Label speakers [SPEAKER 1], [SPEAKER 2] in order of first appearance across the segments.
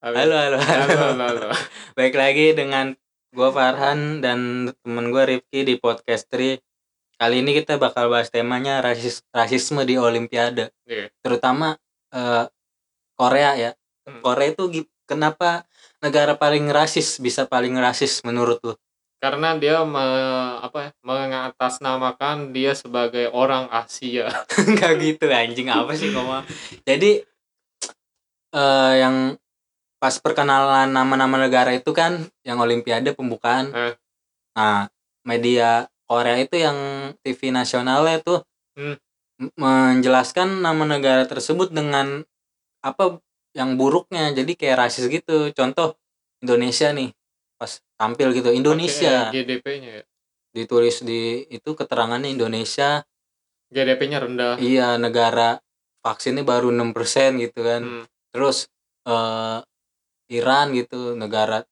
[SPEAKER 1] A ver.
[SPEAKER 2] Halo, halo, halo.
[SPEAKER 1] ya? Halo, halo, halo.
[SPEAKER 2] Baik lagi dengan gue Farhan dan temen gue Rifki di podcast Tri. Kali ini kita bakal bahas temanya rasis rasisme di Olimpiade,
[SPEAKER 1] Iya.
[SPEAKER 2] terutama eh, Korea ya.
[SPEAKER 1] Hmm.
[SPEAKER 2] Korea itu gi- kenapa negara paling rasis bisa paling rasis menurut lu?
[SPEAKER 1] Karena dia me- apa ya, mengatasnamakan dia sebagai orang Asia.
[SPEAKER 2] Enggak gitu anjing apa sih ngomong. Jadi eh, yang pas perkenalan nama-nama negara itu kan yang olimpiade pembukaan.
[SPEAKER 1] Eh.
[SPEAKER 2] Nah, media Korea itu yang TV nasionalnya tuh
[SPEAKER 1] Hmm.
[SPEAKER 2] m- menjelaskan nama negara tersebut dengan apa yang buruknya. Jadi kayak rasis gitu. Contoh Indonesia nih pas tampil gitu
[SPEAKER 1] Pakai,
[SPEAKER 2] Indonesia
[SPEAKER 1] eh, GDP-nya ya.
[SPEAKER 2] ditulis di itu keterangannya Indonesia
[SPEAKER 1] GDP-nya rendah.
[SPEAKER 2] iya negara vaksinnya baru 6% gitu kan
[SPEAKER 1] Hmm.
[SPEAKER 2] terus eh, Iran gitu negara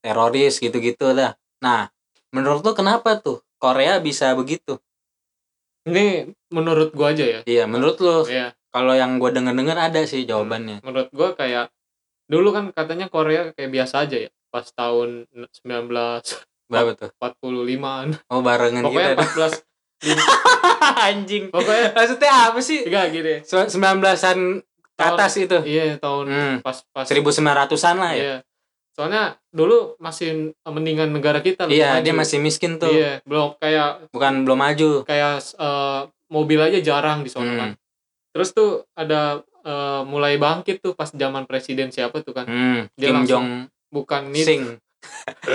[SPEAKER 2] teroris gitu-gitu lah nah menurut lu kenapa tuh Korea bisa begitu
[SPEAKER 1] Ini menurut gua aja ya.
[SPEAKER 2] iya menurut lu
[SPEAKER 1] Iya.
[SPEAKER 2] kalau yang gue denger-denger ada sih jawabannya
[SPEAKER 1] menurut gua kayak dulu kan katanya Korea kayak biasa aja ya pas tahun 1945an
[SPEAKER 2] berapa tuh oh barengan
[SPEAKER 1] pokoknya
[SPEAKER 2] kita
[SPEAKER 1] 14
[SPEAKER 2] anjing
[SPEAKER 1] pokoknya
[SPEAKER 2] maksudnya apa sih
[SPEAKER 1] enggak gini
[SPEAKER 2] Se- 19-an ke
[SPEAKER 1] Tahun-
[SPEAKER 2] atas itu
[SPEAKER 1] iya tahun
[SPEAKER 2] hmm,
[SPEAKER 1] pas pas
[SPEAKER 2] 1900-an lah ya
[SPEAKER 1] iya soalnya dulu masih mendingan negara kita lebih
[SPEAKER 2] iya
[SPEAKER 1] maju.
[SPEAKER 2] dia masih miskin tuh
[SPEAKER 1] iya belum kayak
[SPEAKER 2] bukan belum maju
[SPEAKER 1] kayak eh, mobil aja jarang di sana
[SPEAKER 2] Hmm,
[SPEAKER 1] kan terus tuh ada eh, mulai bangkit tuh pas zaman presiden siapa tuh kan
[SPEAKER 2] hmm,
[SPEAKER 1] Dia
[SPEAKER 2] Kim
[SPEAKER 1] langsung-
[SPEAKER 2] Jong
[SPEAKER 1] bukan nih
[SPEAKER 2] Sing.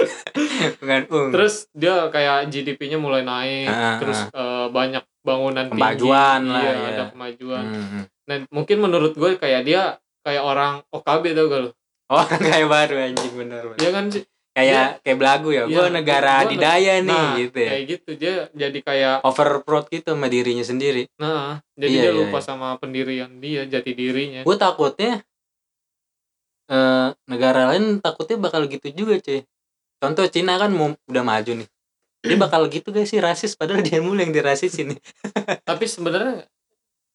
[SPEAKER 2] Bukan Ung.
[SPEAKER 1] terus dia kayak GDP-nya mulai naik
[SPEAKER 2] Ah,
[SPEAKER 1] terus eh, banyak bangunan tinggi.
[SPEAKER 2] Kemajuan lah,
[SPEAKER 1] iya,
[SPEAKER 2] iya.
[SPEAKER 1] ada kemajuan
[SPEAKER 2] Hmm.
[SPEAKER 1] nah mungkin menurut gue kayak dia kayak orang OKB tau gak lo
[SPEAKER 2] Oh, kayak baru anjing bener. bener.
[SPEAKER 1] dia kan sih
[SPEAKER 2] Kayak kayak belagu ya.
[SPEAKER 1] Iya,
[SPEAKER 2] Gua negara
[SPEAKER 1] gua neg-
[SPEAKER 2] adidaya nih
[SPEAKER 1] nah
[SPEAKER 2] gitu ya.
[SPEAKER 1] kayak gitu dia jadi kayak
[SPEAKER 2] Overproud gitu sama dirinya sendiri.
[SPEAKER 1] nah jadi
[SPEAKER 2] Iya,
[SPEAKER 1] dia
[SPEAKER 2] iya,
[SPEAKER 1] lupa
[SPEAKER 2] iya.
[SPEAKER 1] sama pendirian dia jati dirinya
[SPEAKER 2] Gue takutnya eh negara lain takutnya bakal gitu juga, cuy. Contoh Cina kan mau udah maju nih. Dia bakal gitu gak sih rasis padahal dia mulu yang dirasisin nih.
[SPEAKER 1] tapi sebenarnya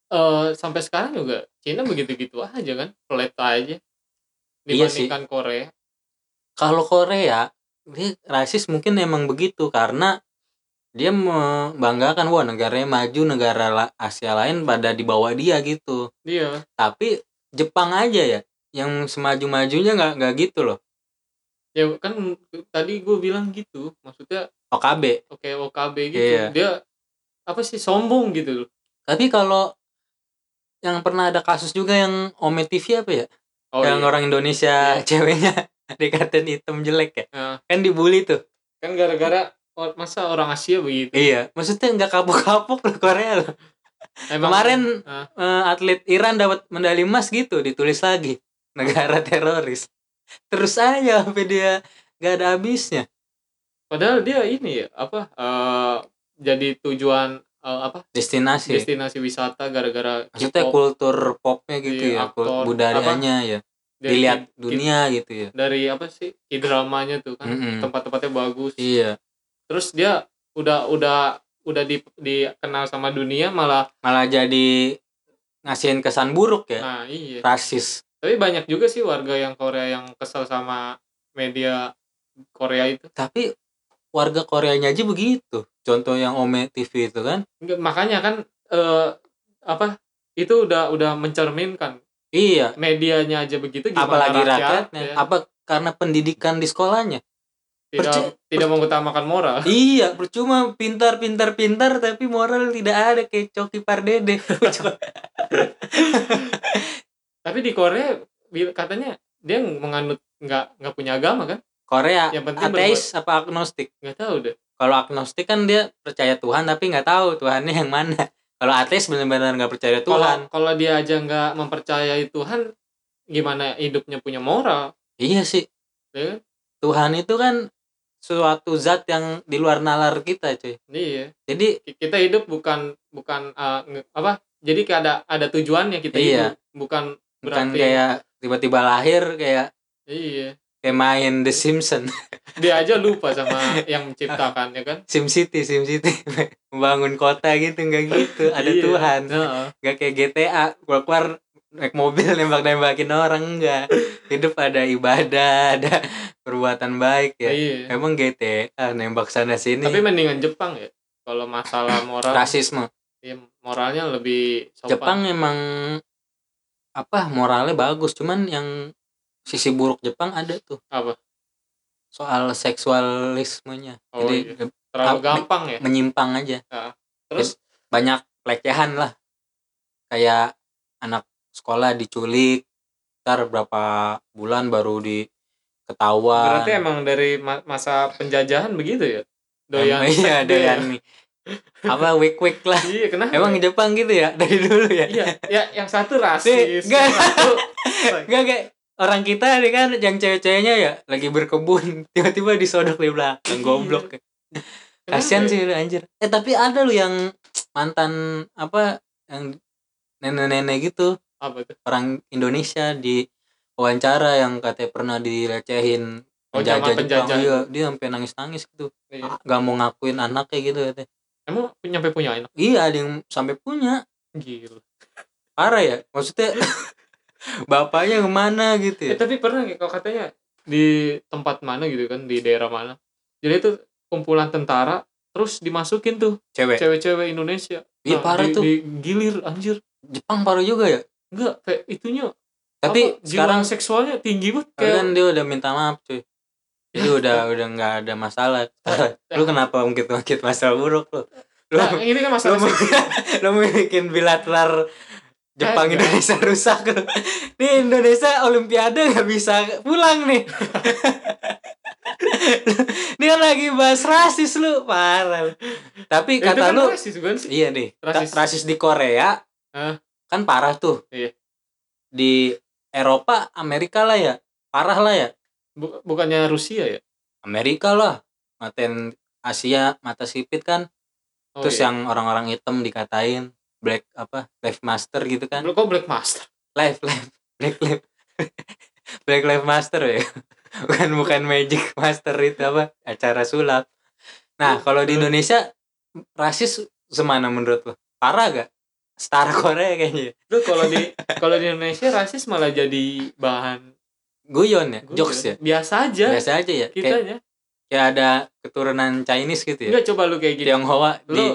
[SPEAKER 1] eh, sampai sekarang juga Cina begitu-gitu aja kan flat aja
[SPEAKER 2] Iya sih.
[SPEAKER 1] dibandingkan Korea
[SPEAKER 2] Kalau Korea, dia rasis mungkin emang begitu karena dia membanggakan wah negaranya maju, negara la- Asia lain pada di bawah dia gitu.
[SPEAKER 1] dia
[SPEAKER 2] tapi Jepang aja ya yang semaju-majunya nggak nggak gitu loh
[SPEAKER 1] ya kan tadi gue bilang gitu maksudnya
[SPEAKER 2] OKB
[SPEAKER 1] oke OKB gitu
[SPEAKER 2] Iya.
[SPEAKER 1] dia apa sih sombong gitu loh
[SPEAKER 2] tapi kalau yang pernah ada kasus juga yang Ome TV apa ya
[SPEAKER 1] oh,
[SPEAKER 2] yang
[SPEAKER 1] iya.
[SPEAKER 2] orang Indonesia
[SPEAKER 1] Iya.
[SPEAKER 2] ceweknya dikatain hitam jelek ya
[SPEAKER 1] Nah,
[SPEAKER 2] kan dibully tuh
[SPEAKER 1] kan gara-gara or- masa orang Asia begitu
[SPEAKER 2] iya maksudnya nggak kapok-kapok loh Korea loh
[SPEAKER 1] Emang-
[SPEAKER 2] kemarin
[SPEAKER 1] Ah.
[SPEAKER 2] eh, atlet Iran dapat medali emas gitu ditulis lagi negara teroris terus aja sampai dia nggak ada habisnya
[SPEAKER 1] padahal dia ini ya apa eh, jadi tujuan eh, apa
[SPEAKER 2] destinasi
[SPEAKER 1] destinasi wisata gara-gara
[SPEAKER 2] Iya maksudnya
[SPEAKER 1] K-pop
[SPEAKER 2] kultur popnya gitu
[SPEAKER 1] Iya,
[SPEAKER 2] ya kul-
[SPEAKER 1] aktor,
[SPEAKER 2] budayanya ya
[SPEAKER 1] dari-
[SPEAKER 2] dilihat
[SPEAKER 1] ki-
[SPEAKER 2] dunia gitu ya
[SPEAKER 1] dari apa sih dramanya tuh kan
[SPEAKER 2] Mm-mm.
[SPEAKER 1] tempat-tempatnya bagus
[SPEAKER 2] iya
[SPEAKER 1] terus dia udah udah udah di dikenal sama dunia malah
[SPEAKER 2] malah jadi ngasihin kesan buruk ya
[SPEAKER 1] nah iya
[SPEAKER 2] rasis
[SPEAKER 1] tapi banyak juga sih warga yang Korea yang kesel sama media Korea itu
[SPEAKER 2] tapi warga Koreanya aja begitu contoh yang Ome TV itu kan
[SPEAKER 1] Nggak, makanya kan eh, apa itu udah udah mencerminkan
[SPEAKER 2] iya
[SPEAKER 1] medianya aja begitu gimana
[SPEAKER 2] apalagi
[SPEAKER 1] rakyat,
[SPEAKER 2] rakyatnya
[SPEAKER 1] ya?
[SPEAKER 2] apa karena pendidikan di sekolahnya
[SPEAKER 1] tidak
[SPEAKER 2] perci-
[SPEAKER 1] tidak mengutamakan moral
[SPEAKER 2] iya percuma pintar pintar pintar tapi moral tidak ada kayak Coki Pardede
[SPEAKER 1] tapi di Korea bil- katanya dia menganut nggak nggak punya agama kan
[SPEAKER 2] Korea
[SPEAKER 1] Yang penting
[SPEAKER 2] ateis apa agnostik
[SPEAKER 1] nggak tahu deh
[SPEAKER 2] kalau agnostik kan dia percaya Tuhan tapi nggak tahu Tuhannya yang mana kalau ateis benar-benar nggak percaya Tuhan
[SPEAKER 1] kalau kalau dia aja nggak mempercayai Tuhan gimana hidupnya punya moral
[SPEAKER 2] iya sih
[SPEAKER 1] ya kan?
[SPEAKER 2] Tuhan itu kan suatu zat yang di luar nalar kita cuy
[SPEAKER 1] iya
[SPEAKER 2] jadi
[SPEAKER 1] Ki- kita hidup bukan bukan eh, nge- apa jadi kayak ada ada tujuannya kita
[SPEAKER 2] Iya.
[SPEAKER 1] hidup bukan
[SPEAKER 2] bukan
[SPEAKER 1] berarti
[SPEAKER 2] kayak tiba-tiba lahir kayak
[SPEAKER 1] iya
[SPEAKER 2] kayak main The Simpsons
[SPEAKER 1] dia aja lupa sama yang menciptakan ya kan
[SPEAKER 2] Sim City Sim City membangun kota gitu nggak gitu ada
[SPEAKER 1] Iya.
[SPEAKER 2] Tuhan
[SPEAKER 1] Heeh.
[SPEAKER 2] nggak kayak GTA keluar keluar naik mobil nembak-nembakin orang enggak hidup ada ibadah ada perbuatan baik ya
[SPEAKER 1] Iya.
[SPEAKER 2] emang GTA nembak sana sini
[SPEAKER 1] Tapi mendingan Jepang ya. Kalau masalah moral,
[SPEAKER 2] rasisme
[SPEAKER 1] ya, moralnya lebih sopan.
[SPEAKER 2] Jepang emang apa moralnya bagus cuman yang sisi buruk Jepang ada tuh
[SPEAKER 1] Apa?
[SPEAKER 2] soal seksualismenya
[SPEAKER 1] Oh,
[SPEAKER 2] jadi
[SPEAKER 1] iya. terlalu
[SPEAKER 2] Tapi-
[SPEAKER 1] gampang ya.
[SPEAKER 2] menyimpang aja
[SPEAKER 1] Terus
[SPEAKER 2] banyak pelecehan lah kayak anak sekolah diculik ntar berapa bulan baru di ketahuan
[SPEAKER 1] berarti emang dari ma- masa penjajahan begitu ya? Doyan.
[SPEAKER 2] Emang iya
[SPEAKER 1] seks dia ya?
[SPEAKER 2] doyan nih apa wik wik lah
[SPEAKER 1] Iya, kenapa?
[SPEAKER 2] emang Jepang gitu ya dari dulu ya
[SPEAKER 1] iya, ya yang satu rasis.
[SPEAKER 2] Enggak.
[SPEAKER 1] yang satu
[SPEAKER 2] Gak gak orang kita nih kan yang cewek-ceweknya ya lagi berkebun tiba-tiba disodok di belakang
[SPEAKER 1] Iya.
[SPEAKER 2] goblok
[SPEAKER 1] Kenapa
[SPEAKER 2] kasian
[SPEAKER 1] ya?
[SPEAKER 2] sih lu, anjir eh tapi ada lu yang mantan apa yang nenek-nenek gitu
[SPEAKER 1] apa tuh?
[SPEAKER 2] orang Indonesia di wawancara yang katanya pernah dilecehin
[SPEAKER 1] Oh, zaman penjajah.
[SPEAKER 2] Iya, dia sampai nangis-nangis gitu.
[SPEAKER 1] Iya.
[SPEAKER 2] Ah, Gak mau ngakuin anaknya gitu katanya.
[SPEAKER 1] Emang nyampe punya anak
[SPEAKER 2] Iya, ada yang sampai punya.
[SPEAKER 1] gila.
[SPEAKER 2] Parah ya? Maksudnya bapaknya kemana gitu
[SPEAKER 1] Eh,
[SPEAKER 2] ya?
[SPEAKER 1] tapi pernah nggak kalau katanya di tempat mana gitu kan, di daerah mana. Jadi itu kumpulan tentara terus dimasukin tuh
[SPEAKER 2] Cewek.
[SPEAKER 1] cewek-cewek Indonesia. Nah,
[SPEAKER 2] Iya, parah
[SPEAKER 1] di-
[SPEAKER 2] tuh.
[SPEAKER 1] Digilir anjir.
[SPEAKER 2] Jepang parah juga ya.
[SPEAKER 1] Enggak, kayak itunya.
[SPEAKER 2] Tapi
[SPEAKER 1] apa, jiwa
[SPEAKER 2] sekarang
[SPEAKER 1] seksualnya tinggi banget kayak
[SPEAKER 2] kan dia udah minta maaf cuy. Jadi udah udah nggak ada masalah. lu kenapa ungkit-ungkit masalah buruk lu? Lu,
[SPEAKER 1] Eh. Nah, ini kan
[SPEAKER 2] lu,
[SPEAKER 1] masalah
[SPEAKER 2] mau- lu mau bikin bilateral Jepang
[SPEAKER 1] Kagak.
[SPEAKER 2] Indonesia rusak lu. Nih Indonesia Olimpiade nggak bisa pulang nih. Dia lagi bahas rasis lu parah. Tapi
[SPEAKER 1] itu
[SPEAKER 2] kata
[SPEAKER 1] kan
[SPEAKER 2] lu
[SPEAKER 1] rasis bukan sih?
[SPEAKER 2] iya nih ta-
[SPEAKER 1] Rasis.
[SPEAKER 2] rasis. di Korea
[SPEAKER 1] Hah?
[SPEAKER 2] kan parah tuh.
[SPEAKER 1] Iya.
[SPEAKER 2] Di Eropa Amerika lah ya parah lah ya
[SPEAKER 1] Bu- bukannya Rusia ya?
[SPEAKER 2] Amerika lah maten Asia mata sipit kan
[SPEAKER 1] Oh,
[SPEAKER 2] terus
[SPEAKER 1] iya.
[SPEAKER 2] yang orang-orang hitam dikatain black apa life master gitu kan
[SPEAKER 1] kok Black Master?
[SPEAKER 2] life life black life black life master ya bukan bukan magic master itu apa acara sulap nah
[SPEAKER 1] Hmm,
[SPEAKER 2] kalau di Indonesia rasis semana menurut lo parah gak setara Korea kayaknya ya?
[SPEAKER 1] Lu kalau di kalau di Indonesia rasis malah jadi bahan
[SPEAKER 2] guyon ya
[SPEAKER 1] guyon.
[SPEAKER 2] jokes ya
[SPEAKER 1] Biasa aja.
[SPEAKER 2] biasa aja ya
[SPEAKER 1] Kita
[SPEAKER 2] kayak,
[SPEAKER 1] ya.
[SPEAKER 2] kayak ada keturunan Chinese gitu ya
[SPEAKER 1] Enggak coba lu kayak gitu.
[SPEAKER 2] Tionghoa di
[SPEAKER 1] Lu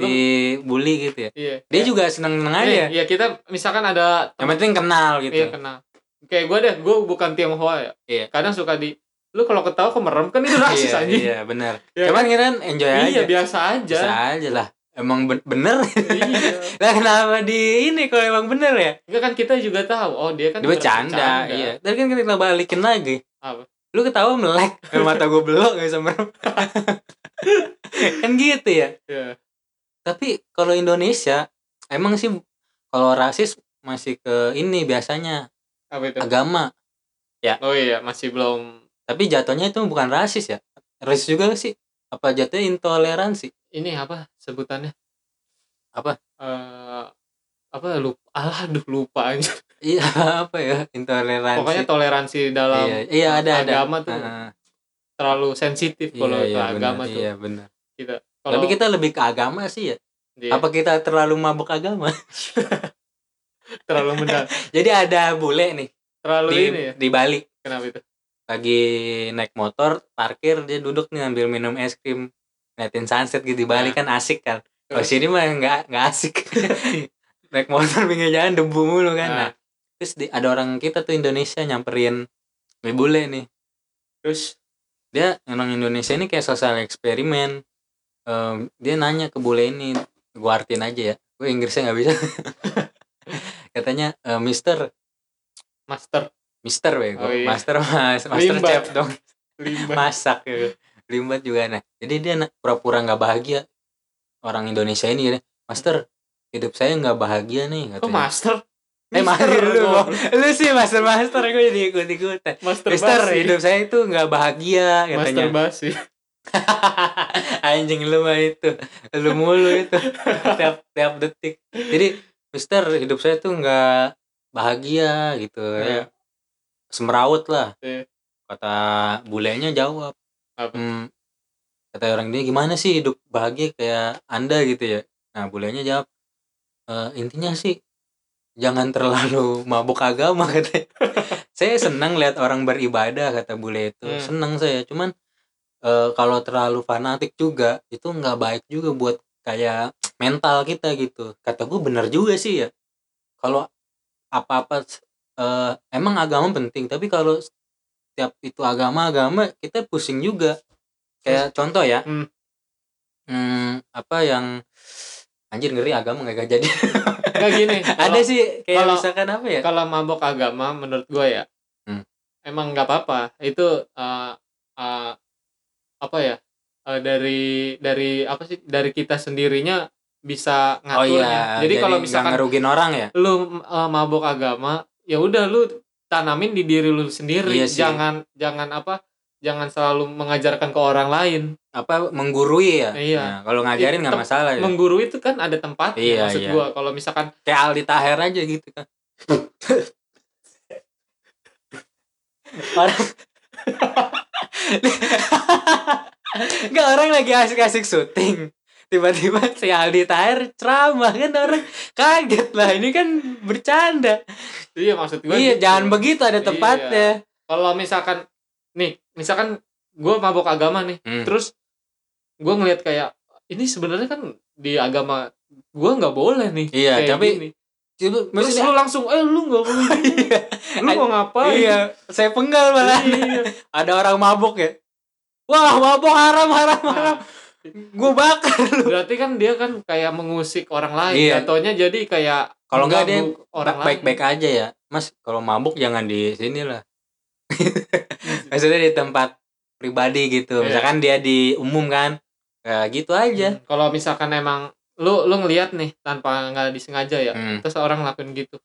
[SPEAKER 2] di bully gitu ya
[SPEAKER 1] iya.
[SPEAKER 2] dia
[SPEAKER 1] Kayak-
[SPEAKER 2] juga seneng-seneng aja
[SPEAKER 1] Iya, iya, kita misalkan ada
[SPEAKER 2] yang penting kenal gitu
[SPEAKER 1] Iya kenal. Kayak gue deh, gue bukan Tionghoa ya.
[SPEAKER 2] Iya.
[SPEAKER 1] Kadang suka di, lu kalau ketawa kemerem kan itu rasis
[SPEAKER 2] iya,
[SPEAKER 1] anjing.
[SPEAKER 2] Iya, benar.
[SPEAKER 1] Iya
[SPEAKER 2] Cuman kita kan enjoy
[SPEAKER 1] Iya,
[SPEAKER 2] aja.
[SPEAKER 1] biasa aja.
[SPEAKER 2] Bisa aja lah. Emang ben- bener.
[SPEAKER 1] iya.
[SPEAKER 2] lah kenapa di ini kalau emang bener ya?
[SPEAKER 1] Enggak kan kita juga tahu. Oh dia kan
[SPEAKER 2] Dia bercanda, iya. Dan kan kita balikin lagi.
[SPEAKER 1] Apa?
[SPEAKER 2] Lu ketawa melek, Eh, mata gue belok gak bisa merem. kan gitu ya.
[SPEAKER 1] Iya.
[SPEAKER 2] Tapi kalau Indonesia emang sih kalau rasis masih ke ini biasanya
[SPEAKER 1] Apa itu?
[SPEAKER 2] agama.
[SPEAKER 1] Oh iya masih belum
[SPEAKER 2] Tapi jatuhnya itu bukan rasis ya. Rasis juga sih. Apa jatuhnya intoleransi?
[SPEAKER 1] ini apa sebutannya?
[SPEAKER 2] Apa?
[SPEAKER 1] Eh, apa lupa alah aduh lupa aja
[SPEAKER 2] Iya, apa ya? Intoleransi.
[SPEAKER 1] pokoknya toleransi dalam
[SPEAKER 2] iya, iya ada ada
[SPEAKER 1] agama tuh
[SPEAKER 2] Heeh.
[SPEAKER 1] terlalu sensitif kalau ke
[SPEAKER 2] Iya, iya,
[SPEAKER 1] agama
[SPEAKER 2] benar,
[SPEAKER 1] tuh
[SPEAKER 2] iya benar
[SPEAKER 1] kalau Iya.
[SPEAKER 2] tapi kita lebih ke agama sih ya
[SPEAKER 1] dia
[SPEAKER 2] apa kita terlalu mabuk agama
[SPEAKER 1] terlalu mendal
[SPEAKER 2] jadi ada bule nih
[SPEAKER 1] terlalu
[SPEAKER 2] di,
[SPEAKER 1] ini ya
[SPEAKER 2] di Bali
[SPEAKER 1] kenapa itu
[SPEAKER 2] lagi naik motor parkir dia duduk nih ngambil minum es krim ngeliatin sunset gitu di
[SPEAKER 1] Nah.
[SPEAKER 2] Bali kan asik kan kalau
[SPEAKER 1] Terus?
[SPEAKER 2] sini mah nggak nggak asik naik motor pinggir jalan debu mulu kan
[SPEAKER 1] Nah.
[SPEAKER 2] nah, terus di- ada orang kita tuh Indonesia nyamperin di bule nih
[SPEAKER 1] terus
[SPEAKER 2] dia orang Indonesia ini kayak sosial eksperimen Em, dia nanya ke bule ini gue artiin aja ya gue Inggrisnya nggak bisa katanya e, Mister
[SPEAKER 1] master
[SPEAKER 2] Mister bego
[SPEAKER 1] Oh, iya.
[SPEAKER 2] Master mas Master
[SPEAKER 1] Limbat.
[SPEAKER 2] chef dong
[SPEAKER 1] limbah
[SPEAKER 2] masak gitu. limbat juga nah jadi dia na- pura-pura nggak bahagia orang Indonesia ini gitu. Master hidup saya nggak bahagia nih
[SPEAKER 1] kok
[SPEAKER 2] katanya
[SPEAKER 1] master
[SPEAKER 2] eh master
[SPEAKER 1] Mister,
[SPEAKER 2] lu
[SPEAKER 1] goblok.
[SPEAKER 2] lu sih master master gue jadi ikut ikutan
[SPEAKER 1] master
[SPEAKER 2] Mister
[SPEAKER 1] basi.
[SPEAKER 2] hidup saya itu nggak bahagia katanya
[SPEAKER 1] master basi
[SPEAKER 2] anjing lu mah itu lu mulu itu tiap tiap detik jadi Mister hidup saya tuh nggak bahagia gitu
[SPEAKER 1] Iya.
[SPEAKER 2] ya semeraut lah
[SPEAKER 1] Iya.
[SPEAKER 2] kata bulenya jawab
[SPEAKER 1] Apa?
[SPEAKER 2] Hmm, kata orang dia gimana sih hidup bahagia kayak anda gitu ya nah bulenya jawab "Eh, intinya sih jangan terlalu mabuk agama katanya. saya senang lihat orang beribadah kata bule itu.
[SPEAKER 1] Hmm.
[SPEAKER 2] Senang saya, cuman eh, kalau terlalu fanatik juga itu nggak baik juga buat kayak mental kita gitu. Kata gue bener juga sih ya. Kalau apa-apa eh, emang agama penting, tapi kalau setiap itu agama-agama kita pusing juga. Kayak contoh ya.
[SPEAKER 1] Hmm.
[SPEAKER 2] Hmm, apa yang anjir ngeri agama nggak jadi
[SPEAKER 1] Nggak gini.
[SPEAKER 2] ada
[SPEAKER 1] kalau-
[SPEAKER 2] sih kayak
[SPEAKER 1] kalau-
[SPEAKER 2] misalkan apa ya
[SPEAKER 1] kalau mabok agama menurut gue ya
[SPEAKER 2] Hmm.
[SPEAKER 1] emang nggak apa-apa itu eh, eh, apa ya eh, dari dari apa sih dari kita sendirinya bisa ngaturnya
[SPEAKER 2] oh iya
[SPEAKER 1] jadi, kalau
[SPEAKER 2] nggak
[SPEAKER 1] misalkan
[SPEAKER 2] ngerugin orang ya
[SPEAKER 1] lu eh, mabok agama ya udah lu tanamin di diri lu sendiri
[SPEAKER 2] Iya sih.
[SPEAKER 1] jangan jangan apa jangan selalu mengajarkan ke orang lain
[SPEAKER 2] apa menggurui ya
[SPEAKER 1] Iya.
[SPEAKER 2] Nah, kalau ngajarin nggak
[SPEAKER 1] Tem-
[SPEAKER 2] masalah ya.
[SPEAKER 1] menggurui itu kan ada tempat
[SPEAKER 2] Iya,
[SPEAKER 1] maksud
[SPEAKER 2] iya.
[SPEAKER 1] gua kalau misalkan
[SPEAKER 2] kayak Aldi Taher aja gitu kan orang nggak orang lagi asik-asik syuting tiba-tiba si Aldi Taher ceramah kan orang kaget lah ini kan bercanda
[SPEAKER 1] iya maksud gua
[SPEAKER 2] iya
[SPEAKER 1] gitu.
[SPEAKER 2] jangan begitu
[SPEAKER 1] Iya.
[SPEAKER 2] ada tempatnya
[SPEAKER 1] kalau misalkan nih misalkan gue mabok agama nih
[SPEAKER 2] Hmm.
[SPEAKER 1] terus gue ngelihat kayak ini sebenarnya kan di agama gue nggak boleh nih
[SPEAKER 2] Iya,
[SPEAKER 1] kayak
[SPEAKER 2] tapi-
[SPEAKER 1] gini.
[SPEAKER 2] Coba-
[SPEAKER 1] terus
[SPEAKER 2] maksudnya-
[SPEAKER 1] lu langsung eh lu nggak boleh gini. lu mau ngapain
[SPEAKER 2] iya saya penggal malah
[SPEAKER 1] Iya.
[SPEAKER 2] ada orang mabuk ya wah mabuk haram haram
[SPEAKER 1] Nah,
[SPEAKER 2] haram gue bakar lu
[SPEAKER 1] berarti kan dia kan kayak mengusik orang lain
[SPEAKER 2] Iya.
[SPEAKER 1] jatuhnya jadi kayak
[SPEAKER 2] Kalau nggak dia
[SPEAKER 1] mengganggu orang lain
[SPEAKER 2] baik baik aja ya mas kalau mabuk jangan di sini lah maksudnya di tempat pribadi gitu
[SPEAKER 1] Iya.
[SPEAKER 2] misalkan dia di umum kan ya, gitu aja
[SPEAKER 1] Hmm, kalau misalkan emang lu lu ngelihat nih tanpa nggak disengaja ya
[SPEAKER 2] Hmm.
[SPEAKER 1] terus orang lakuin gitu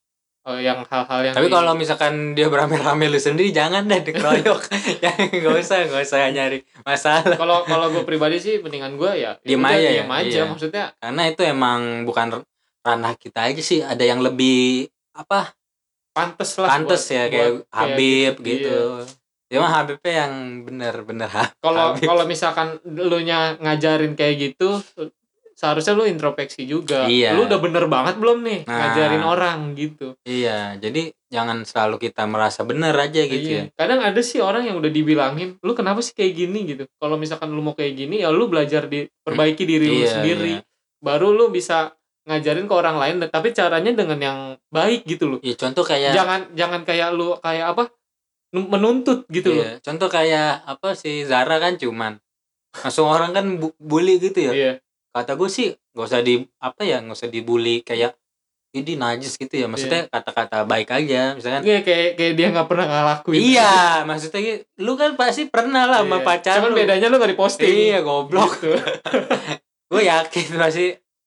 [SPEAKER 1] Eh, yang hal-hal yang gitu.
[SPEAKER 2] tapi
[SPEAKER 1] di-
[SPEAKER 2] kalau misalkan dia beramai-ramai lu sendiri jangan deh dikeroyok ya nggak usah nggak usah nyari masalah
[SPEAKER 1] kalau kalau gue pribadi sih mendingan gue ya
[SPEAKER 2] Diem
[SPEAKER 1] udah,
[SPEAKER 2] aja ya?
[SPEAKER 1] diem aja
[SPEAKER 2] Iya.
[SPEAKER 1] maksudnya
[SPEAKER 2] karena itu emang bukan ranah kita aja sih ada yang lebih apa
[SPEAKER 1] pantes lah
[SPEAKER 2] pantes
[SPEAKER 1] buat-
[SPEAKER 2] ya kayak
[SPEAKER 1] buat
[SPEAKER 2] Habib
[SPEAKER 1] gitu.
[SPEAKER 2] gitu.
[SPEAKER 1] Iya.
[SPEAKER 2] Ya mah Habibnya yang bener-bener ha.
[SPEAKER 1] kalau
[SPEAKER 2] Habib.
[SPEAKER 1] kalau misalkan lu nya ngajarin kayak gitu seharusnya lu introspeksi juga
[SPEAKER 2] Iya.
[SPEAKER 1] lu udah bener banget belum nih
[SPEAKER 2] Nah.
[SPEAKER 1] ngajarin orang gitu
[SPEAKER 2] Iya, jadi jangan selalu kita merasa bener aja gitu
[SPEAKER 1] Iya. kadang ada sih orang yang udah dibilangin lu kenapa sih kayak gini gitu kalau misalkan lu mau kayak gini ya lu belajar di perbaiki
[SPEAKER 2] ya.
[SPEAKER 1] diri lu
[SPEAKER 2] Iya,
[SPEAKER 1] sendiri
[SPEAKER 2] Iya.
[SPEAKER 1] baru lu bisa ngajarin ke orang lain tapi caranya dengan yang baik gitu loh
[SPEAKER 2] Ya, contoh kayak
[SPEAKER 1] jangan jangan kayak lu kayak apa menuntut gitu
[SPEAKER 2] iya, contoh kayak apa sih Zara kan cuman langsung orang kan bu- bully gitu ya.
[SPEAKER 1] loh iya
[SPEAKER 2] Kata gue sih nggak usah di apa ya nggak usah dibully kayak ini najis gitu ya. Maksudnya kata-kata baik aja misalkan.
[SPEAKER 1] Iya, kayak kayak dia nggak pernah ngelakuin
[SPEAKER 2] Iya, maksudnya lu kan pasti pernah lah sama
[SPEAKER 1] Iya.
[SPEAKER 2] pacar
[SPEAKER 1] cuman
[SPEAKER 2] lu.
[SPEAKER 1] bedanya lu nggak diposting
[SPEAKER 2] Iya, goblok.
[SPEAKER 1] Gitu.
[SPEAKER 2] gue yakin pasti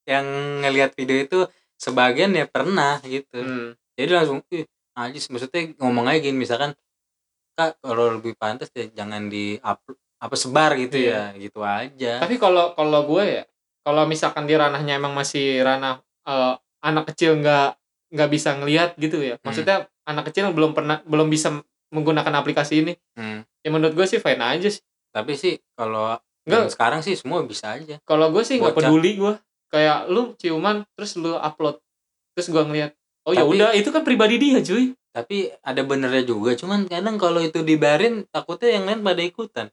[SPEAKER 2] yang ngelihat video itu sebagian ya pernah gitu
[SPEAKER 1] Hmm.
[SPEAKER 2] jadi langsung ih najis maksudnya ngomong aja gini misalkan kak kalau lebih pantas ya jangan di upload apa sebar gitu
[SPEAKER 1] Iya.
[SPEAKER 2] ya gitu aja
[SPEAKER 1] tapi kalau kalau gue ya kalau misalkan di ranahnya emang masih ranah eh, anak kecil nggak nggak bisa ngelihat gitu
[SPEAKER 2] Hmm.
[SPEAKER 1] ya maksudnya anak kecil belum pernah belum bisa menggunakan aplikasi ini
[SPEAKER 2] Hmm.
[SPEAKER 1] ya menurut gue sih fine aja sih
[SPEAKER 2] tapi sih kalau
[SPEAKER 1] Nggak.
[SPEAKER 2] yang sekarang sih semua bisa aja
[SPEAKER 1] kalau gue sih nggak
[SPEAKER 2] Hmm. Bocah.
[SPEAKER 1] peduli gue kayak lu ciuman terus lu upload terus gue ngeliat oh ya
[SPEAKER 2] Tapi-
[SPEAKER 1] udah itu kan pribadi dia cuy
[SPEAKER 2] tapi ada benernya juga cuman kadang kalau itu dibarin takutnya yang lain pada ikutan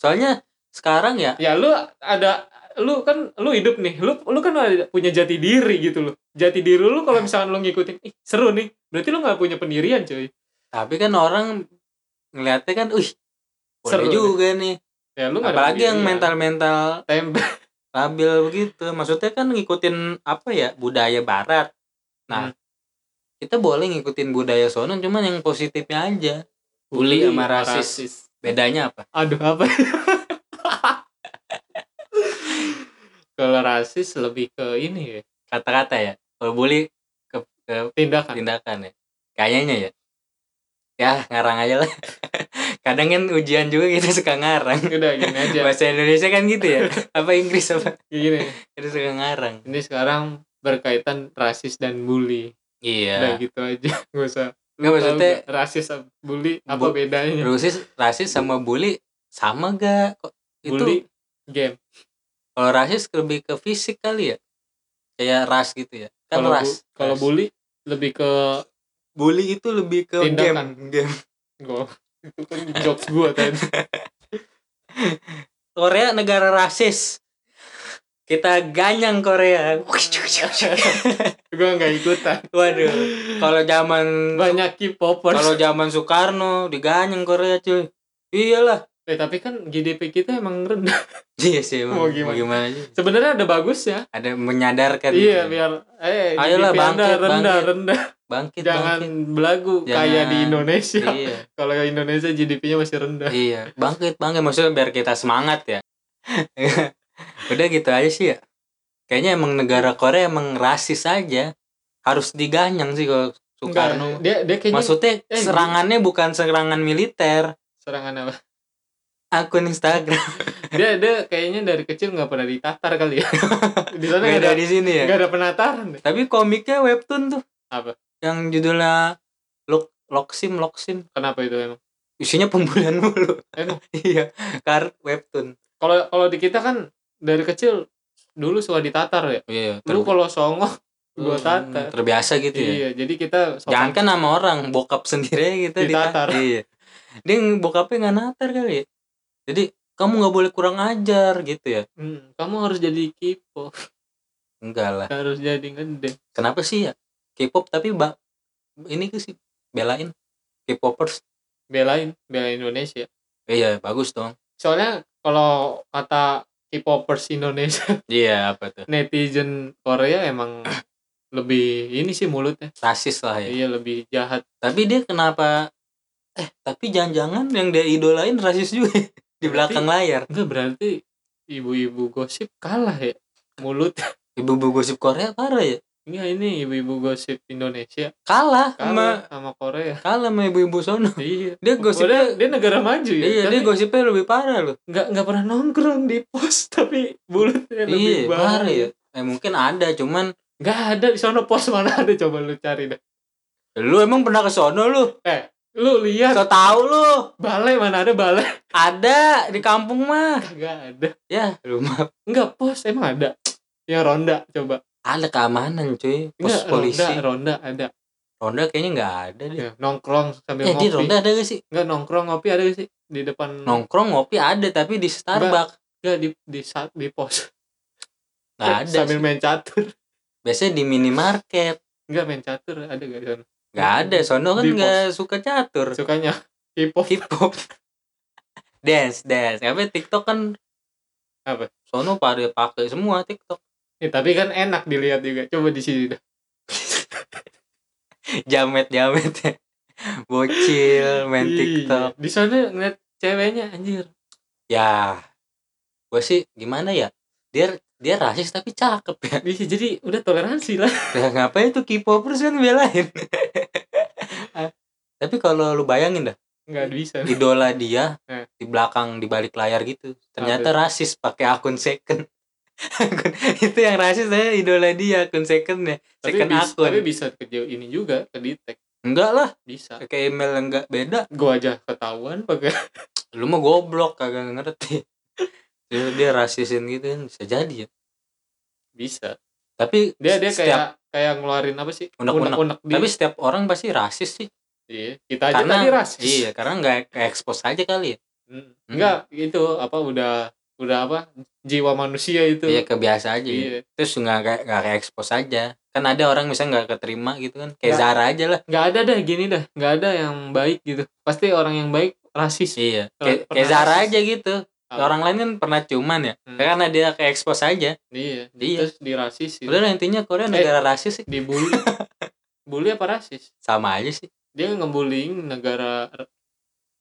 [SPEAKER 2] soalnya sekarang ya
[SPEAKER 1] ya lu ada lu kan lu hidup nih lu lu kan ada- punya jati diri gitu loh jati diri lu kalau misalkan lu ngikutin ih seru nih berarti lu nggak punya pendirian cuy
[SPEAKER 2] tapi kan orang ngeliatnya kan uh
[SPEAKER 1] Seru
[SPEAKER 2] boleh juga nih
[SPEAKER 1] ya lu nggak ada
[SPEAKER 2] apalagi yang
[SPEAKER 1] pendirian.
[SPEAKER 2] mental-mental
[SPEAKER 1] Tempe.
[SPEAKER 2] stabil begitu maksudnya kan ngikutin apa ya budaya barat nah
[SPEAKER 1] Hmm.
[SPEAKER 2] kita boleh ngikutin budaya sono cuman yang positifnya aja Bully sama rasis. bedanya apa
[SPEAKER 1] aduh apa kalau rasis lebih ke ini ya
[SPEAKER 2] kata-kata ya kalau bully ke, ke
[SPEAKER 1] tindakan
[SPEAKER 2] tindakan ya kayaknya ya ya ngarang aja lah kadang kan ujian juga kita suka ngarang
[SPEAKER 1] udah gini aja
[SPEAKER 2] bahasa Indonesia kan gitu ya apa Inggris apa
[SPEAKER 1] gini
[SPEAKER 2] kita suka ngarang
[SPEAKER 1] ini sekarang berkaitan rasis dan bully udah
[SPEAKER 2] iya
[SPEAKER 1] gitu aja gak usah
[SPEAKER 2] nggak
[SPEAKER 1] Tahu
[SPEAKER 2] maksudnya
[SPEAKER 1] nggak, rasis sama bully apa
[SPEAKER 2] Bu-
[SPEAKER 1] bedanya
[SPEAKER 2] rasis rasis sama bully sama gak kok itu
[SPEAKER 1] bully game
[SPEAKER 2] Kalau rasis lebih ke fisik kali ya. Kayak ras gitu ya. Kan
[SPEAKER 1] kalau bu-
[SPEAKER 2] ras.
[SPEAKER 1] kalau
[SPEAKER 2] Ras.
[SPEAKER 1] bully lebih ke
[SPEAKER 2] bully itu lebih ke
[SPEAKER 1] Tindakan.
[SPEAKER 2] game game
[SPEAKER 1] gue itu kan jokes gue tadi
[SPEAKER 2] Korea negara rasis kita ganyang Korea
[SPEAKER 1] gue nggak ikutan
[SPEAKER 2] waduh kalau zaman
[SPEAKER 1] banyak K-popers
[SPEAKER 2] kalau zaman Soekarno diganyang Korea cuy iyalah
[SPEAKER 1] Eh, tapi kan GDP kita emang rendah
[SPEAKER 2] iya sih emang.
[SPEAKER 1] Mau
[SPEAKER 2] mau
[SPEAKER 1] gimana?
[SPEAKER 2] gimana, sih?
[SPEAKER 1] sebenarnya ada bagusnya
[SPEAKER 2] ada menyadarkan
[SPEAKER 1] iya biar eh
[SPEAKER 2] Ayolah,
[SPEAKER 1] GDP Anda
[SPEAKER 2] bangkit,
[SPEAKER 1] rendah
[SPEAKER 2] bangkit.
[SPEAKER 1] rendah
[SPEAKER 2] bangkit
[SPEAKER 1] jangan belagu
[SPEAKER 2] Jangan.
[SPEAKER 1] kayak di Indonesia
[SPEAKER 2] bangkit iya
[SPEAKER 1] kalau Indonesia GDP-nya masih rendah
[SPEAKER 2] iya bangkit bangkit maksudnya biar kita semangat ya udah gitu aja sih ya kayaknya emang negara Korea emang rasis aja harus diganyang sih kalau Soekarno
[SPEAKER 1] Enggak, dia dia kayaknya
[SPEAKER 2] maksudnya
[SPEAKER 1] eh,
[SPEAKER 2] serangannya bukan serangan militer
[SPEAKER 1] serangan apa
[SPEAKER 2] akun Instagram
[SPEAKER 1] dia dia kayaknya dari kecil nggak pernah ditatar kali ya di sana nggak ada
[SPEAKER 2] beda di sini ya
[SPEAKER 1] nggak ada penataran deh.
[SPEAKER 2] tapi komiknya webtoon tuh
[SPEAKER 1] Apa?
[SPEAKER 2] yang judulnya Lok Loksim Loksim
[SPEAKER 1] kenapa itu emang
[SPEAKER 2] isinya pembulian mulu
[SPEAKER 1] Emang?
[SPEAKER 2] iya kar webtoon
[SPEAKER 1] kalau kalau di kita kan dari kecil dulu suka ditatar ya
[SPEAKER 2] iya
[SPEAKER 1] lu kalau songo gua tatar
[SPEAKER 2] terbiasa Hmm, gitu ya
[SPEAKER 1] iya jadi kita
[SPEAKER 2] jangan kan sama orang bokap sendiri gitu
[SPEAKER 1] Ditatar.
[SPEAKER 2] iya dia yang bokapnya nggak natar kali ya jadi kamu nggak boleh kurang ajar gitu ya
[SPEAKER 1] Hmm, kamu harus jadi kipo
[SPEAKER 2] enggak lah
[SPEAKER 1] harus jadi ngedeng
[SPEAKER 2] kenapa sih ya K-pop tapi mbak ini tuh sih belain K-popers
[SPEAKER 1] belain belain Indonesia
[SPEAKER 2] iya bagus dong
[SPEAKER 1] soalnya kalau kata K-popers Indonesia
[SPEAKER 2] iya apa tuh
[SPEAKER 1] netizen Korea emang lebih ini sih mulutnya
[SPEAKER 2] rasis lah ya
[SPEAKER 1] iya lebih jahat
[SPEAKER 2] tapi dia kenapa eh tapi jangan-jangan yang dia idolain rasis juga ya? di belakang layar
[SPEAKER 1] enggak berarti ibu-ibu gosip kalah ya mulut
[SPEAKER 2] ibu-ibu gosip Korea parah ya
[SPEAKER 1] enggak ini ibu-ibu gosip Indonesia
[SPEAKER 2] kalah sama
[SPEAKER 1] kalah sama Korea
[SPEAKER 2] kalah sama ibu-ibu sono
[SPEAKER 1] iya
[SPEAKER 2] dia gosipnya
[SPEAKER 1] Padahal dia negara maju ya
[SPEAKER 2] iya
[SPEAKER 1] tapi
[SPEAKER 2] dia gosipnya lebih parah loh
[SPEAKER 1] nggak nggak pernah nongkrong di pos tapi mulutnya
[SPEAKER 2] iya
[SPEAKER 1] lebih
[SPEAKER 2] parah
[SPEAKER 1] bahaya
[SPEAKER 2] ya eh mungkin ada cuman
[SPEAKER 1] nggak ada di sana pos mana ada coba lu cari dah
[SPEAKER 2] lu emang pernah ke sono lu
[SPEAKER 1] lu lihat
[SPEAKER 2] so tau lu
[SPEAKER 1] balai mana ada balai
[SPEAKER 2] ada di kampung mah
[SPEAKER 1] nggak ada
[SPEAKER 2] ya lu mah
[SPEAKER 1] Enggak, pos emang ada. Yang ronda coba.
[SPEAKER 2] ada keamanan cuy pos
[SPEAKER 1] Enggak,
[SPEAKER 2] polisi
[SPEAKER 1] Ronda, ronda ada.
[SPEAKER 2] ronda kayaknya nggak ada deh
[SPEAKER 1] Ya, nongkrong sambil
[SPEAKER 2] eh di
[SPEAKER 1] ngopi.
[SPEAKER 2] ronda ada gak sih
[SPEAKER 1] Enggak nongkrong ngopi ada gak sih di depan
[SPEAKER 2] nongkrong ngopi ada tapi di Starbucks
[SPEAKER 1] enggak di di saat di pos.
[SPEAKER 2] nggak
[SPEAKER 1] eh,
[SPEAKER 2] ada
[SPEAKER 1] Sambil
[SPEAKER 2] sih.
[SPEAKER 1] main catur.
[SPEAKER 2] biasanya di minimarket
[SPEAKER 1] Enggak main catur ada gak di sana?
[SPEAKER 2] Gak ada, Sono kan
[SPEAKER 1] Di
[SPEAKER 2] gak suka catur
[SPEAKER 1] Sukanya hip hop.
[SPEAKER 2] Hip hop Dance, dance Tapi TikTok kan
[SPEAKER 1] Apa?
[SPEAKER 2] Sono pada pakai semua TikTok
[SPEAKER 1] Ya, tapi kan enak dilihat juga. Coba di sini dah.
[SPEAKER 2] Jamet, jamet ya Bocil, main
[SPEAKER 1] Iya.
[SPEAKER 2] TikTok
[SPEAKER 1] Di sana ngeliat ceweknya anjir.
[SPEAKER 2] Ya Gue sih gimana ya Dia dia rasis tapi cakep ya
[SPEAKER 1] Di jadi udah toleransi lah.
[SPEAKER 2] Lah ngapain tuh K-popers kan belain Tapi kalau lu bayangin dah
[SPEAKER 1] Enggak bisa.
[SPEAKER 2] Idola dia
[SPEAKER 1] Eh.
[SPEAKER 2] Di belakang, di balik layar gitu ternyata rasis pakai akun second Akun- itu yang rasis saya idola dia akun second ya
[SPEAKER 1] Tapi
[SPEAKER 2] second
[SPEAKER 1] bisa,
[SPEAKER 2] akun
[SPEAKER 1] tapi bisa kejauh ini juga ke detect.
[SPEAKER 2] enggak lah
[SPEAKER 1] Bisa.
[SPEAKER 2] pakai email enggak beda
[SPEAKER 1] Gua aja ketahuan pakai
[SPEAKER 2] lu mah goblok kagak ngerti dia, dia rasisin gitu kan bisa jadi ya
[SPEAKER 1] bisa.
[SPEAKER 2] tapi
[SPEAKER 1] dia dia
[SPEAKER 2] setiap,
[SPEAKER 1] kayak kayak ngeluarin apa sih
[SPEAKER 2] Unek-unek.
[SPEAKER 1] unek di
[SPEAKER 2] tapi setiap orang pasti rasis sih
[SPEAKER 1] Iya, kita aja
[SPEAKER 2] karena
[SPEAKER 1] tadi rasis
[SPEAKER 2] iya karena nggak ke expose aja kali ya
[SPEAKER 1] Hmm. enggak itu apa udah udah apa jiwa manusia itu
[SPEAKER 2] iya kebiasa aja ya.
[SPEAKER 1] Iya.
[SPEAKER 2] terus nggak kayak nggak ke expose aja kan ada orang misalnya nggak keterima gitu kan kayak
[SPEAKER 1] Nggak.
[SPEAKER 2] Zara aja lah
[SPEAKER 1] nggak ada dah gini dah nggak ada yang baik gitu pasti orang yang baik rasis
[SPEAKER 2] iya
[SPEAKER 1] Pernah-
[SPEAKER 2] kayak, kayak
[SPEAKER 1] pernah
[SPEAKER 2] Zara
[SPEAKER 1] rasis.
[SPEAKER 2] aja gitu
[SPEAKER 1] Apa?
[SPEAKER 2] orang lain kan pernah cuman ya
[SPEAKER 1] Hmm.
[SPEAKER 2] karena dia ke expose aja
[SPEAKER 1] iya, Eh.
[SPEAKER 2] Iya.
[SPEAKER 1] terus dirasis
[SPEAKER 2] udah lah, intinya Korea negara rasis sih
[SPEAKER 1] dibully bully apa rasis
[SPEAKER 2] sama aja sih
[SPEAKER 1] dia ngebullying negara r-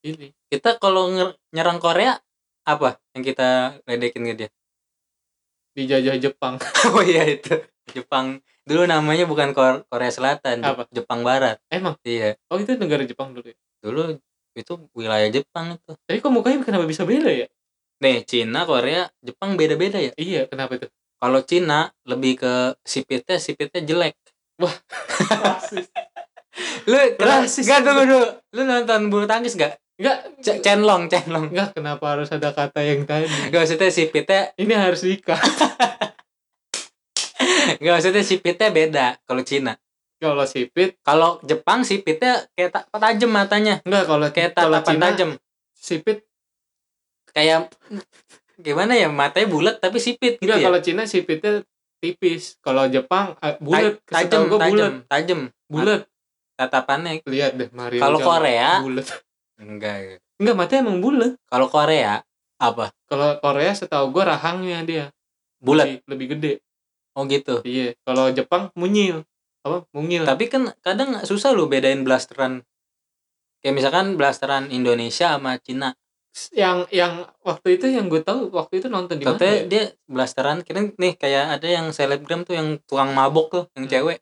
[SPEAKER 1] ini
[SPEAKER 2] kita kalau nger- nyerang Korea apa yang kita ledekin ke dia
[SPEAKER 1] dijajah Jepang
[SPEAKER 2] oh iya itu Jepang dulu namanya bukan Kor- Korea Selatan Jep-
[SPEAKER 1] Apa?
[SPEAKER 2] Jepang Barat
[SPEAKER 1] Emang?
[SPEAKER 2] iya
[SPEAKER 1] oh itu negara Jepang dulu ya
[SPEAKER 2] dulu itu wilayah Jepang itu
[SPEAKER 1] tapi kok mukanya kenapa bisa beda ya
[SPEAKER 2] nih Cina Korea Jepang beda-beda ya
[SPEAKER 1] iya kenapa itu
[SPEAKER 2] kalau Cina lebih ke sipitnya sipitnya jelek
[SPEAKER 1] rasis
[SPEAKER 2] lu
[SPEAKER 1] Rasis. Iya.
[SPEAKER 2] rasis gak tunggu dulu lu nonton bulu tangkis gak
[SPEAKER 1] enggak
[SPEAKER 2] C- Chenlong Chenlong
[SPEAKER 1] Enggak, kenapa harus ada kata yang tadi?
[SPEAKER 2] gak maksudnya sipitnya
[SPEAKER 1] Ini harus nikah.
[SPEAKER 2] Gak maksudnya sipitnya beda kalau Cina.
[SPEAKER 1] kalau sipit
[SPEAKER 2] Kalau Jepang sipitnya kayak ta- tajam matanya,
[SPEAKER 1] enggak kalau
[SPEAKER 2] kayak
[SPEAKER 1] kalau
[SPEAKER 2] tatapan
[SPEAKER 1] Cina
[SPEAKER 2] tajam.
[SPEAKER 1] sipit
[SPEAKER 2] Kayak gimana ya matanya bulat tapi sipit gitu
[SPEAKER 1] enggak
[SPEAKER 2] ya.
[SPEAKER 1] kalau Cina sipitnya tipis kalau Jepang eh, bulat
[SPEAKER 2] Ta-
[SPEAKER 1] tajam
[SPEAKER 2] tajam,
[SPEAKER 1] gue bulat
[SPEAKER 2] tajam, tajam
[SPEAKER 1] bulat
[SPEAKER 2] tatapannya.
[SPEAKER 1] lihat deh Mario
[SPEAKER 2] Kalau
[SPEAKER 1] Jawa,
[SPEAKER 2] Korea
[SPEAKER 1] bulat
[SPEAKER 2] enggak. ya.
[SPEAKER 1] enggak matanya emang bulat
[SPEAKER 2] Kalau Korea apa?
[SPEAKER 1] kalau Korea setahu gue rahangnya dia
[SPEAKER 2] Bulat.
[SPEAKER 1] lebih, lebih gede
[SPEAKER 2] Oh gitu.
[SPEAKER 1] iya kalau Jepang munyil apa mungil
[SPEAKER 2] Tapi kan kadang susah lu bedain blasteran. Kayak misalkan blasteran Indonesia sama Cina.
[SPEAKER 1] yang yang waktu itu yang gue tahu waktu itu nonton di mana
[SPEAKER 2] Katanya
[SPEAKER 1] ya?
[SPEAKER 2] dia blasteran kira nih kayak ada yang selebgram tuh yang tukang mabok tuh, yang
[SPEAKER 1] Hmm.
[SPEAKER 2] cewek.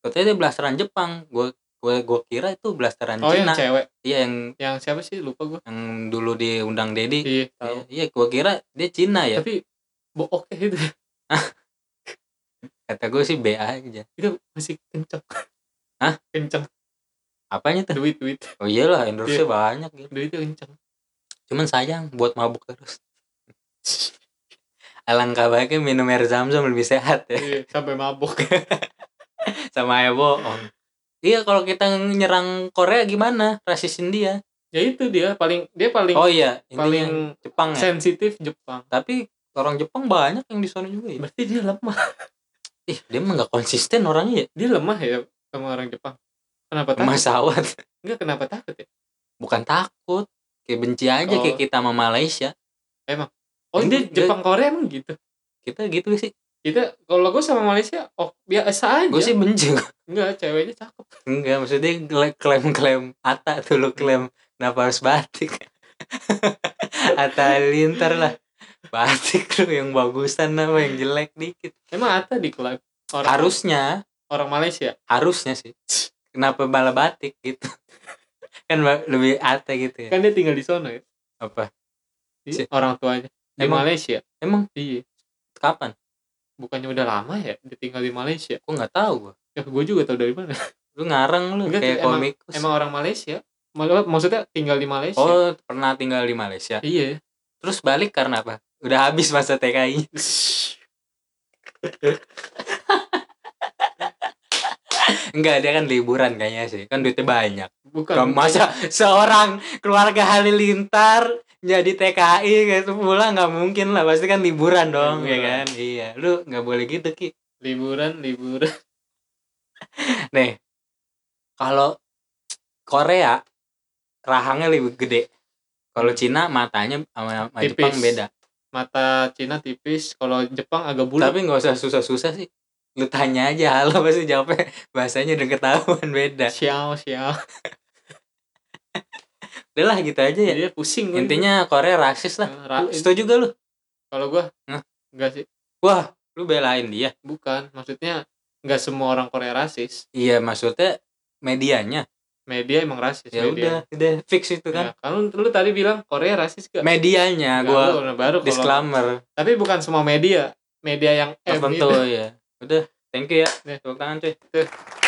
[SPEAKER 2] Katanya dia blasteran Jepang. Gue gue gue kira itu blasteran
[SPEAKER 1] oh yang
[SPEAKER 2] Cina.
[SPEAKER 1] cewek
[SPEAKER 2] Iya yang
[SPEAKER 1] yang siapa sih lupa gue
[SPEAKER 2] yang dulu diundang Dedi.
[SPEAKER 1] iya tahu
[SPEAKER 2] Iya, iya gue kira dia Cina ya.
[SPEAKER 1] tapi book itu
[SPEAKER 2] Kata gue sih BA aja.
[SPEAKER 1] itu masih kenceng
[SPEAKER 2] Hah?
[SPEAKER 1] kenceng
[SPEAKER 2] Apanya tuh?
[SPEAKER 1] duit duit
[SPEAKER 2] Oh iyalah
[SPEAKER 1] Iya.
[SPEAKER 2] endorse banyak gitu.
[SPEAKER 1] duitnya kenceng
[SPEAKER 2] Cuman sayang buat mabuk terus. Alangkah baiknya minum air zam-zam lebih sehat ya.
[SPEAKER 1] Iya, sampai mabok
[SPEAKER 2] sama ya bohong iya kalau kita nyerang Korea gimana rasisin dia
[SPEAKER 1] ya itu dia paling dia paling
[SPEAKER 2] oh iya
[SPEAKER 1] paling
[SPEAKER 2] paling Jepang ya
[SPEAKER 1] sensitif Jepang
[SPEAKER 2] tapi orang Jepang banyak yang di sana juga ya
[SPEAKER 1] berarti dia lemah
[SPEAKER 2] ih dia emang nggak konsisten orangnya ya
[SPEAKER 1] dia lemah ya sama orang Jepang kenapa takut
[SPEAKER 2] Mas Awad
[SPEAKER 1] enggak kenapa takut ya
[SPEAKER 2] bukan takut kayak benci aja
[SPEAKER 1] Oh.
[SPEAKER 2] kayak kita sama Malaysia
[SPEAKER 1] oh dia
[SPEAKER 2] Enggak, enggak.
[SPEAKER 1] Jepang Korea emang gitu
[SPEAKER 2] kita gitu sih
[SPEAKER 1] kita kalau gue sama Malaysia oh biasa aja
[SPEAKER 2] gue sih benci
[SPEAKER 1] enggak ceweknya cakep
[SPEAKER 2] enggak maksudnya klaim klaim Ata tuh lo klaim kenapa harus batik Ata linter lah batik lu yang bagusan sama yang jelek dikit
[SPEAKER 1] emang Ata di klub orang
[SPEAKER 2] harusnya
[SPEAKER 1] orang Malaysia
[SPEAKER 2] harusnya sih kenapa malah batik gitu kan ba- lebih ate gitu ya
[SPEAKER 1] kan dia tinggal di sono ya
[SPEAKER 2] apa
[SPEAKER 1] Iya,
[SPEAKER 2] Si-
[SPEAKER 1] orang tuanya di
[SPEAKER 2] Emang-
[SPEAKER 1] Malaysia
[SPEAKER 2] emang
[SPEAKER 1] iya
[SPEAKER 2] kapan
[SPEAKER 1] bukannya udah lama ya dia tinggal di Malaysia
[SPEAKER 2] gua nggak tahu gua
[SPEAKER 1] ya gue juga tau dari mana
[SPEAKER 2] lu ngarang lu
[SPEAKER 1] Enggak,
[SPEAKER 2] kayak
[SPEAKER 1] emang-
[SPEAKER 2] komikus
[SPEAKER 1] emang orang Malaysia Mal- maksudnya tinggal di Malaysia
[SPEAKER 2] oh pernah tinggal di Malaysia
[SPEAKER 1] iya
[SPEAKER 2] terus balik karena apa udah habis masa TKI enggak dia kan liburan kayaknya sih kan duitnya banyak
[SPEAKER 1] bukan
[SPEAKER 2] Gak- masa seorang keluarga Halilintar jadi TKI gitu pulang nggak mungkin lah pasti kan liburan dong ya
[SPEAKER 1] Liburan.
[SPEAKER 2] kan iya lu nggak boleh gitu ki
[SPEAKER 1] liburan liburan
[SPEAKER 2] Nih, kalau Korea rahangnya lebih gede. Kalau Cina matanya sama, sama
[SPEAKER 1] Tipis.
[SPEAKER 2] Jepang beda.
[SPEAKER 1] mata Cina tipis kalau Jepang agak bulat
[SPEAKER 2] Tapi nggak usah susah-susah sih. Lu tanya aja halo pasti jawabnya bahasanya udah ketahuan beda.
[SPEAKER 1] sial sial
[SPEAKER 2] Udah lah gitu aja ya.
[SPEAKER 1] jadi dia pusing gua
[SPEAKER 2] Intinya Korea rasis
[SPEAKER 1] juga.
[SPEAKER 2] lah.
[SPEAKER 1] Ra-
[SPEAKER 2] Lu Setuju gak lu?
[SPEAKER 1] kalau gue
[SPEAKER 2] Hah?
[SPEAKER 1] enggak sih
[SPEAKER 2] Wah, lu belain dia.
[SPEAKER 1] bukan maksudnya enggak semua orang Korea rasis
[SPEAKER 2] Iya, maksudnya medianya.
[SPEAKER 1] media emang rasis
[SPEAKER 2] Ya udah,
[SPEAKER 1] media.
[SPEAKER 2] udah fix itu
[SPEAKER 1] Ya,
[SPEAKER 2] kan.
[SPEAKER 1] kalau lu tadi bilang Korea rasis gak?
[SPEAKER 2] Medianya
[SPEAKER 1] Enggak,
[SPEAKER 2] gua
[SPEAKER 1] lu Ya. baru kalau
[SPEAKER 2] disclaimer
[SPEAKER 1] tapi bukan semua media media yang M itu.
[SPEAKER 2] tertentu ya. iya. Udah, thank you ya.
[SPEAKER 1] Ya.
[SPEAKER 2] Tepuk tangan cuy.